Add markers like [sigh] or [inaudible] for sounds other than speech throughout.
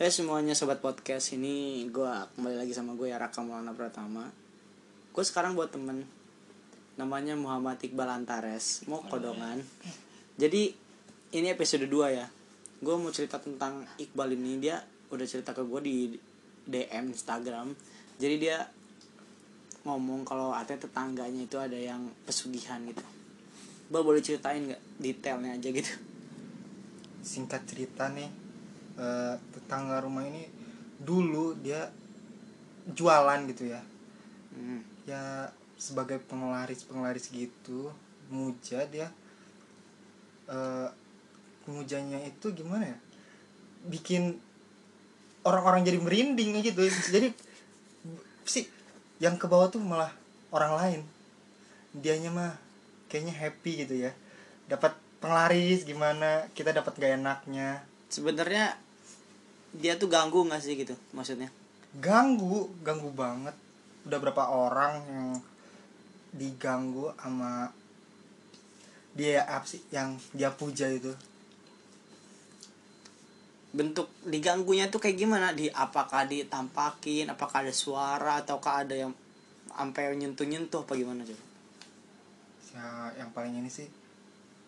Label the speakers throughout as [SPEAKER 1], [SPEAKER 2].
[SPEAKER 1] Hey semuanya sobat podcast ini gua kembali lagi sama gue ya Raka Maulana Pratama. Gue sekarang buat temen namanya Muhammad Iqbal Antares mau kodongan. Jadi ini episode 2 ya. Gue mau cerita tentang Iqbal ini dia udah cerita ke gue di DM Instagram. Jadi dia ngomong kalau ada tetangganya itu ada yang pesugihan gitu. Iqbal boleh ceritain nggak detailnya aja gitu?
[SPEAKER 2] singkat cerita nih eh, tetangga rumah ini dulu dia jualan gitu ya
[SPEAKER 1] Hmm.
[SPEAKER 2] ya sebagai penglaris penglaris gitu muja dia eh mujanya itu gimana ya bikin orang-orang jadi merinding gitu jadi sih yang ke bawah tuh malah orang lain dianya mah kayaknya happy gitu ya dapat penglaris gimana kita dapat gak enaknya
[SPEAKER 1] Sebenarnya dia tuh ganggu nggak sih gitu maksudnya?
[SPEAKER 2] ganggu ganggu banget udah berapa orang yang diganggu sama dia apa sih yang dia puja itu
[SPEAKER 1] bentuk diganggunya tuh kayak gimana di apakah ditampakin apakah ada suara ataukah ada yang sampai nyentuh nyentuh apa gimana coba
[SPEAKER 2] ya yang paling ini sih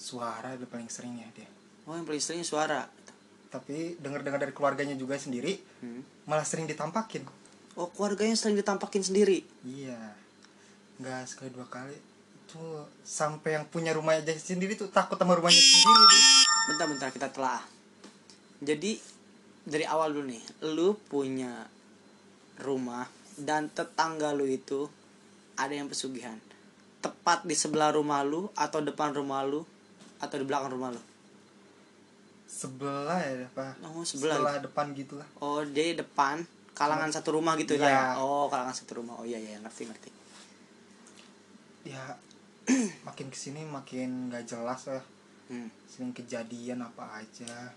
[SPEAKER 2] suara udah paling sering ya dia
[SPEAKER 1] oh yang paling sering suara
[SPEAKER 2] tapi dengar-dengar dari keluarganya juga sendiri
[SPEAKER 1] Hmm.
[SPEAKER 2] malah sering ditampakin
[SPEAKER 1] oh keluarganya sering ditampakin sendiri
[SPEAKER 2] iya nggak sekali dua kali itu sampai yang punya rumah aja sendiri tuh takut sama rumahnya sendiri tuh.
[SPEAKER 1] bentar-bentar kita telah jadi dari awal dulu nih lu punya rumah dan tetangga lu itu ada yang pesugihan tepat di sebelah rumah lu atau depan rumah lu atau di belakang rumah lu
[SPEAKER 2] sebelah ya apa
[SPEAKER 1] Oh, sebelah.
[SPEAKER 2] depan gitu lah
[SPEAKER 1] Oh, jadi depan kalangan satu rumah gitu
[SPEAKER 2] Iya.
[SPEAKER 1] lah ya. Oh, kalangan satu rumah. Oh iya iya ngerti ngerti.
[SPEAKER 2] ya makin kesini makin nggak jelas lah
[SPEAKER 1] Hmm.
[SPEAKER 2] sering kejadian apa aja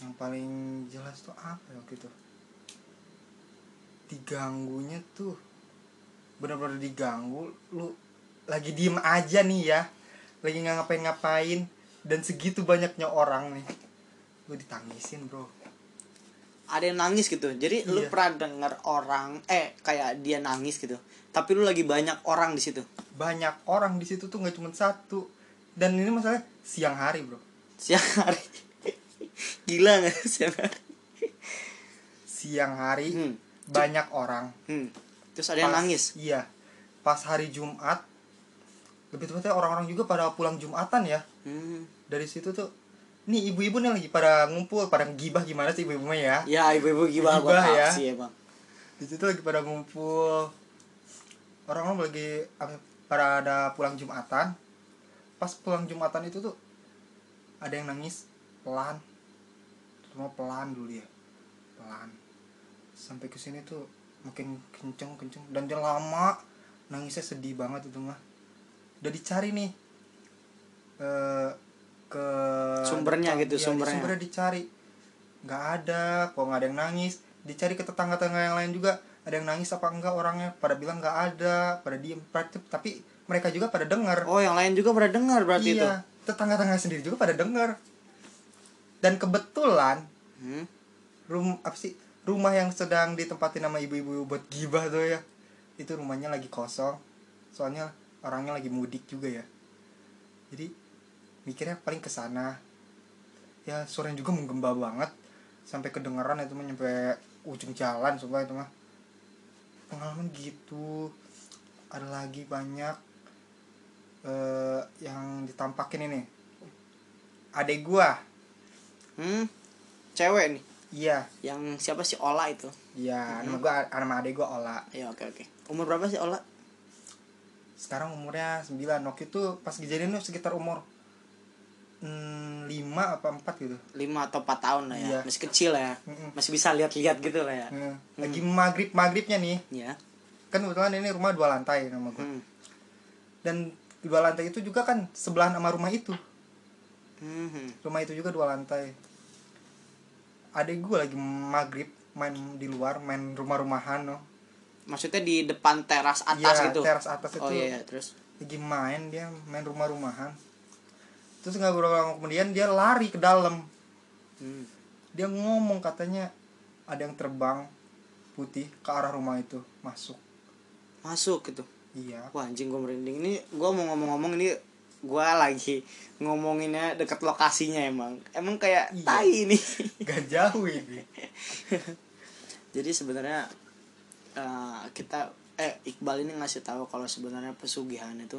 [SPEAKER 2] yang paling jelas tuh apa ya gitu diganggunya tuh bener-bener diganggu lu lagi diem aja nih ya lagi nggak ngapain-ngapain dan segitu banyaknya orang nih lu ditangisin bro
[SPEAKER 1] Ada yang nangis gitu. Jadi lu
[SPEAKER 2] Iya.
[SPEAKER 1] pernah denger orang eh kayak dia nangis gitu. Tapi lu lagi banyak orang di situ. [laughs]
[SPEAKER 2] banyak orang di situ tuh nggak cuma satu dan ini masalah siang hari bro
[SPEAKER 1] Siang hari. Gila gak siang hari?
[SPEAKER 2] siang hari
[SPEAKER 1] Hmm.
[SPEAKER 2] banyak orang
[SPEAKER 1] Hmm. Terus ada yang
[SPEAKER 2] Pas-
[SPEAKER 1] nangis.
[SPEAKER 2] Iya. Pas hari Jumat lebih tepatnya orang-orang juga pada pulang Jumatan ya.
[SPEAKER 1] Hmm.
[SPEAKER 2] Dari situ tuh nih ibu-ibu nih lagi pada ngumpul, pada gibah gimana sih ibu-ibu mah ya.
[SPEAKER 1] Ya ibu-ibu gimana gua
[SPEAKER 2] Gibah
[SPEAKER 1] tahu
[SPEAKER 2] ya.
[SPEAKER 1] sih emang.
[SPEAKER 2] Di situ lagi pada ngumpul. Orang-orang lagi apa pada ada pulang Jumatan. Pas pulang Jumatan itu tuh ada yang nangis pelan. Semua pelan dulu ya. Pelan. Sampai ke sini tuh makin kenceng-kenceng dan dia lama nangisnya sedih banget itu mah. Udah dicari nih eh ke
[SPEAKER 1] Sumbernya gitu,
[SPEAKER 2] Iya, di
[SPEAKER 1] sumbernya.
[SPEAKER 2] sumbernya dicari nggak ada kok nggak ada yang nangis dicari ke tetangga-tetangga yang lain juga ada yang nangis apa enggak orangnya pada bilang nggak ada pada diem Pada- tapi mereka juga pada dengar
[SPEAKER 1] Oh, yang lain juga pernah dengar berarti itu.
[SPEAKER 2] iya tetangga-tetangga sendiri juga pada dengar dan kebetulan
[SPEAKER 1] Hmm.
[SPEAKER 2] rum apa sih rumah yang sedang ditempatin sama ibu-ibu buat gibah tuh ya itu rumahnya lagi kosong soalnya orangnya lagi mudik juga ya jadi mikirnya paling ke sana ya suaranya juga menggembah banget sampai kedengeran itu mah nyampe ujung jalan semua itu mah pengalaman gitu ada lagi banyak eh, yang ditampakin ini adek gua
[SPEAKER 1] Hmm. Cewek nih.
[SPEAKER 2] iya
[SPEAKER 1] Yang siapa sih Ola itu?
[SPEAKER 2] Iya, nama gua nama adek gua Ola.
[SPEAKER 1] Ya oke oke. Umur berapa sih Ola?
[SPEAKER 2] Sekarang umurnya 9. Waktu itu pas kejadian tuh sekitar umur hmm, 5 apa 4 gitu.
[SPEAKER 1] 5 atau 4 tahun lah ya.
[SPEAKER 2] Iya.
[SPEAKER 1] Masih kecil lah ya.
[SPEAKER 2] Mm-mm.
[SPEAKER 1] Masih bisa lihat-lihat gitu lah ya.
[SPEAKER 2] Nah, Lagi maghrib maghribnya nih.
[SPEAKER 1] Ya.
[SPEAKER 2] Kan kebetulan ini rumah dua lantai nama gua.
[SPEAKER 1] Hmm.
[SPEAKER 2] Dan dua lantai itu juga kan sebelahan sama rumah itu.
[SPEAKER 1] Mhm.
[SPEAKER 2] Rumah itu juga dua lantai. Adek gua lagi maghrib main di luar, main rumah-rumahan noh.
[SPEAKER 1] Maksudnya di depan teras atas
[SPEAKER 2] Iya,
[SPEAKER 1] gitu.
[SPEAKER 2] teras atas itu.
[SPEAKER 1] Oh iya, iya. terus
[SPEAKER 2] lagi main dia main rumah-rumahan terus nggak berapa lama kemudian dia lari ke dalam
[SPEAKER 1] Hmm.
[SPEAKER 2] dia ngomong katanya ada yang terbang putih ke arah rumah itu masuk
[SPEAKER 1] Masuk gitu.
[SPEAKER 2] iya
[SPEAKER 1] Wah anjing gue merinding ini gue mau ngomong-ngomong ini gue lagi ngomonginnya deket lokasinya emang emang kayak
[SPEAKER 2] Iya.
[SPEAKER 1] tai ini [laughs]
[SPEAKER 2] gak jauh ini
[SPEAKER 1] jadi sebenarnya eh, kita eh Iqbal ini ngasih tahu kalau sebenarnya pesugihan itu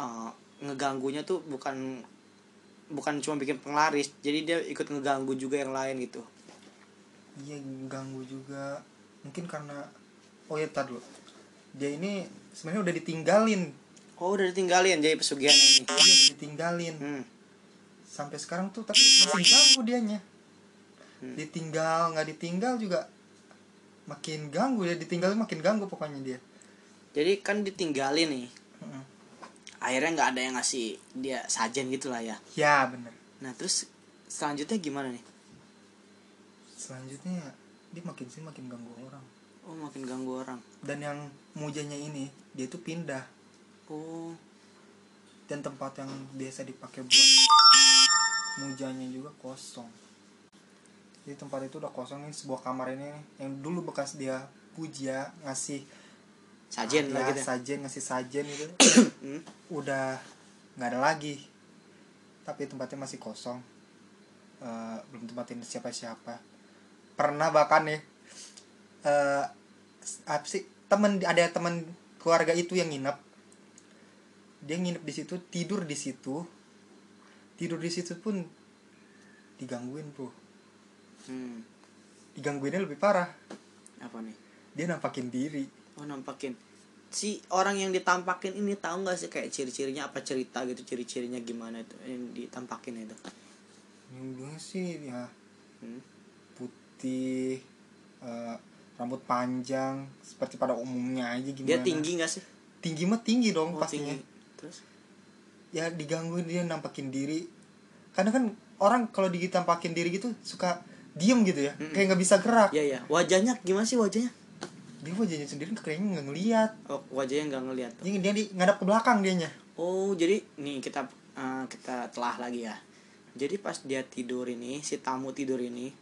[SPEAKER 1] eh, ngeganggunya tuh bukan bukan cuma bikin penglaris jadi dia ikut ngeganggu juga yang lain gitu
[SPEAKER 2] iya ganggu juga mungkin karena oh ya tar dulu dia ini sebenarnya udah ditinggalin
[SPEAKER 1] oh udah ditinggalin jadi pesugihan ini
[SPEAKER 2] dia udah ditinggalin
[SPEAKER 1] hmm.
[SPEAKER 2] sampai sekarang tuh tapi masih ganggu dianya
[SPEAKER 1] Hmm.
[SPEAKER 2] ditinggal nggak ditinggal juga makin ganggu ya ditinggal makin ganggu pokoknya dia
[SPEAKER 1] jadi kan ditinggalin nih
[SPEAKER 2] Mm-mm.
[SPEAKER 1] akhirnya nggak ada yang ngasih dia sajen gitu lah ya
[SPEAKER 2] ya bener
[SPEAKER 1] nah terus selanjutnya gimana nih
[SPEAKER 2] selanjutnya dia makin sini makin ganggu orang
[SPEAKER 1] oh makin ganggu orang
[SPEAKER 2] dan yang mujanya ini dia tuh pindah
[SPEAKER 1] oh
[SPEAKER 2] dan tempat yang biasa dipakai buat mujanya juga kosong jadi tempat itu udah kosong nih sebuah kamar ini nih, yang dulu bekas dia puja ngasih
[SPEAKER 1] sajen
[SPEAKER 2] ya,
[SPEAKER 1] lah gitu
[SPEAKER 2] sajen ngasih sajen gitu
[SPEAKER 1] [coughs] Hmm.
[SPEAKER 2] udah nggak ada lagi tapi tempatnya masih kosong Eh, belum tempatin siapa-siapa pernah bahkan nih eh apa sih temen ada temen keluarga itu yang nginep dia nginep di situ tidur di situ tidur di situ pun digangguin bro
[SPEAKER 1] hmm.
[SPEAKER 2] digangguinnya lebih parah
[SPEAKER 1] apa nih
[SPEAKER 2] dia nampakin diri
[SPEAKER 1] Oh nampakin si orang yang ditampakin ini tahu nggak sih kayak ciri-cirinya apa cerita gitu ciri-cirinya gimana itu yang ditampakin itu
[SPEAKER 2] dulunya sih ya
[SPEAKER 1] Hmm.
[SPEAKER 2] putih eh, rambut panjang seperti pada umumnya aja gimana
[SPEAKER 1] dia tinggi nggak sih
[SPEAKER 2] tinggi mah tinggi dong
[SPEAKER 1] Oh,
[SPEAKER 2] pastinya
[SPEAKER 1] tinggi. terus
[SPEAKER 2] ya digangguin dia nampakin diri karena kan orang kalau ditampakin diri gitu suka diem gitu ya
[SPEAKER 1] Mm-mm.
[SPEAKER 2] kayak nggak bisa gerak
[SPEAKER 1] ya ya wajahnya gimana sih wajahnya
[SPEAKER 2] dia wajahnya sendiri kayaknya nggak ngeliat
[SPEAKER 1] oh wajahnya nggak ngeliat tuh.
[SPEAKER 2] dia, dia di, ngadap ke belakang dianya
[SPEAKER 1] oh jadi nih kita eh, kita telah lagi ya jadi pas dia tidur ini si tamu tidur ini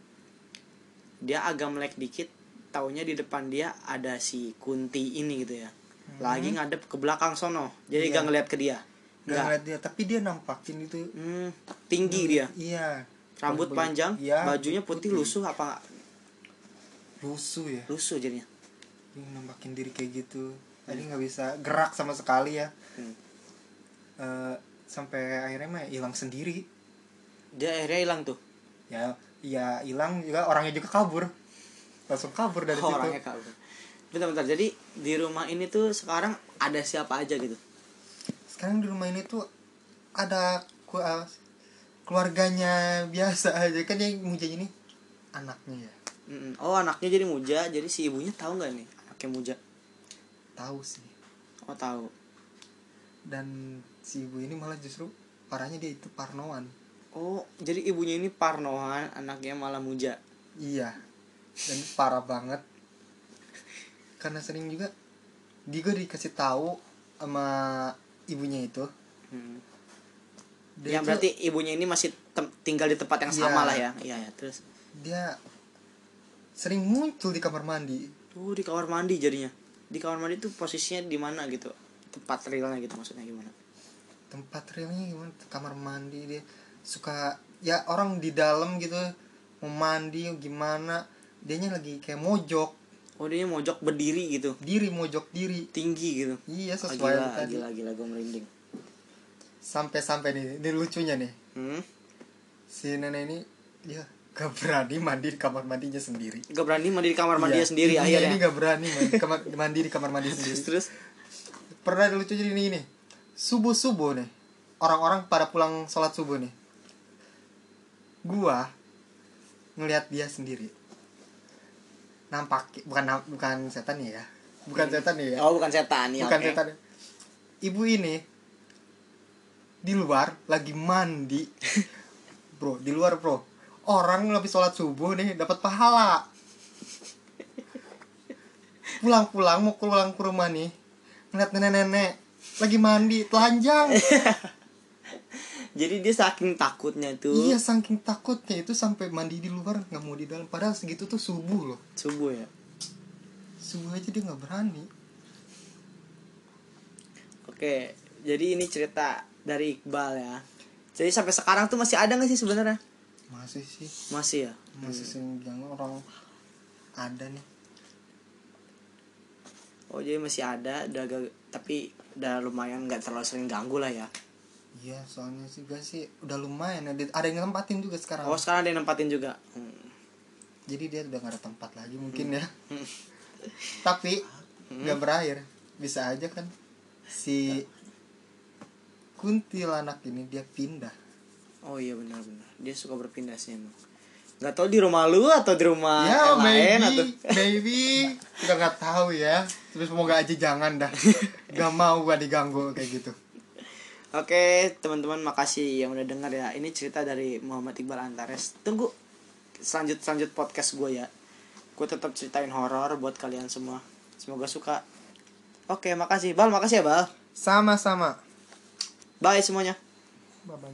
[SPEAKER 1] dia agak melek dikit taunya di depan dia ada si kunti ini gitu ya lagi ngadep ke belakang sono jadi
[SPEAKER 2] Iya.
[SPEAKER 1] nggak ngeliat ke dia
[SPEAKER 2] nggak
[SPEAKER 1] Nggak.
[SPEAKER 2] ngeliat dia tapi dia nampakin itu
[SPEAKER 1] Hmm, tinggi dia.
[SPEAKER 2] iya
[SPEAKER 1] Rambut
[SPEAKER 2] Rambut-
[SPEAKER 1] panjang,
[SPEAKER 2] iya,
[SPEAKER 1] bajunya putih, lusuh apa
[SPEAKER 2] lusuh ya
[SPEAKER 1] lusuh jadinya.
[SPEAKER 2] dia nampakin diri kayak gitu tadi nggak bisa gerak sama sekali ya
[SPEAKER 1] Hmm.
[SPEAKER 2] Eh, sampai akhirnya mah hilang sendiri
[SPEAKER 1] Dia akhirnya hilang tuh.
[SPEAKER 2] ya ya hilang juga orangnya juga kabur langsung kabur
[SPEAKER 1] [laughs]
[SPEAKER 2] dari
[SPEAKER 1] Oh,
[SPEAKER 2] situ
[SPEAKER 1] orangnya kabur. Bentar-bentar. Jadi di rumah ini tuh sekarang ada siapa aja gitu.
[SPEAKER 2] sekarang di rumah ini tuh ada ku- eh, keluarganya biasa aja kan yang muja ini anaknya ya
[SPEAKER 1] Mm-mm. Oh, anaknya jadi muja, jadi si ibunya tahu nggak nih anaknya muja?
[SPEAKER 2] tahu sih
[SPEAKER 1] Oh, tahu.
[SPEAKER 2] dan si ibu ini malah justru parahnya dia itu parnoan
[SPEAKER 1] Oh, jadi ibunya ini Parnohan, anaknya malah muja.
[SPEAKER 2] iya dan parah banget karena sering juga dia juga dikasih tahu sama ibunya itu
[SPEAKER 1] Hmm.
[SPEAKER 2] dia
[SPEAKER 1] Yang Ya,
[SPEAKER 2] tuh-
[SPEAKER 1] berarti ibunya ini masih tem- tinggal di tempat yang
[SPEAKER 2] Iya.
[SPEAKER 1] sama lah ya. Iya, ya. terus.
[SPEAKER 2] dia sering muncul di kamar mandi
[SPEAKER 1] Tuh di kamar mandi jadinya. Di kamar mandi tuh posisinya di mana gitu? Tempat realnya gitu maksudnya gimana?
[SPEAKER 2] tempat realnya gimana kamar mandi dia suka ya orang di dalam gitu mau mandi gimana dianya lagi kayak mojok
[SPEAKER 1] Oh dia mojok berdiri gitu
[SPEAKER 2] diri mojok diri
[SPEAKER 1] tinggi gitu.
[SPEAKER 2] iya
[SPEAKER 1] Ah,
[SPEAKER 2] sesuai
[SPEAKER 1] gila,
[SPEAKER 2] tadi
[SPEAKER 1] gila, gila, gue merinding.
[SPEAKER 2] sampai-sampai nih ini lucunya nih
[SPEAKER 1] Hmm?
[SPEAKER 2] si nenek ini dia gak berani mandi di kamar mandinya sendiri
[SPEAKER 1] Gak berani mandi di kamar mandinya
[SPEAKER 2] Iya,
[SPEAKER 1] sendiri
[SPEAKER 2] ibunya
[SPEAKER 1] akhirnya.
[SPEAKER 2] ini gak berani mandi, kamar- mandi di kamar mandi sendiri
[SPEAKER 1] Terus terus.
[SPEAKER 2] pernah lucu jadi ini nih subuh subuh nih orang-orang pada pulang sholat subuh nih gua ngelihat dia sendiri nampak bukan nam- bukan setan ya bukan setan ya
[SPEAKER 1] Oh bukan setan ya.
[SPEAKER 2] bukan
[SPEAKER 1] oke.
[SPEAKER 2] setan ibu ini di luar lagi mandi bro di luar bro orang habis sholat subuh nih dapat pahala pulang-pulang mau pulang ke rumah nih ngeliat nenek-nenek lagi mandi telanjang
[SPEAKER 1] Jadi dia saking takutnya tuh
[SPEAKER 2] Iya saking takutnya itu sampai mandi di luar nggak mau di dalam padahal segitu tuh subuh loh
[SPEAKER 1] subuh ya.
[SPEAKER 2] subuh aja dia nggak berani
[SPEAKER 1] Oke, jadi ini cerita dari Iqbal ya. Jadi sampai sekarang tuh masih ada nggak sih sebenarnya?
[SPEAKER 2] masih sih
[SPEAKER 1] Masih ya.
[SPEAKER 2] masih sering ganggu orang ada nih
[SPEAKER 1] Oh jadi masih ada, udah agak- tapi udah lumayan nggak terlalu sering ganggu lah ya.
[SPEAKER 2] iya soalnya juga sih udah lumayan ada ada yang tempatin juga sekarang
[SPEAKER 1] Oh sekarang ada yang nempatin juga. Hmm.
[SPEAKER 2] jadi dia udah gak ada tempat lagi mungkin
[SPEAKER 1] [laughs]
[SPEAKER 2] ya tapi
[SPEAKER 1] Hmm.
[SPEAKER 2] nggak berakhir bisa aja kan si kuntilanak ini dia pindah
[SPEAKER 1] Oh iya benar-benar. Dia suka berpindah sih emang. Gak tau di rumah lu atau di rumah
[SPEAKER 2] ya
[SPEAKER 1] Ah, yang lain
[SPEAKER 2] maybe
[SPEAKER 1] atau
[SPEAKER 2] maybe kita nggak tahu ya terus semoga aja jangan
[SPEAKER 1] [laughs]
[SPEAKER 2] dah gak mau gua diganggu kayak gitu
[SPEAKER 1] Oke, teman-teman makasih yang udah dengar ya. Ini cerita dari Muhammad Iqbal Antares. Tunggu selanjut selanjut podcast gue ya. Gue tetap ceritain horor buat kalian semua. Semoga suka. Oke, makasih. Bal, makasih ya, Bal.
[SPEAKER 2] sama-sama
[SPEAKER 1] Bye semuanya.
[SPEAKER 2] bye bye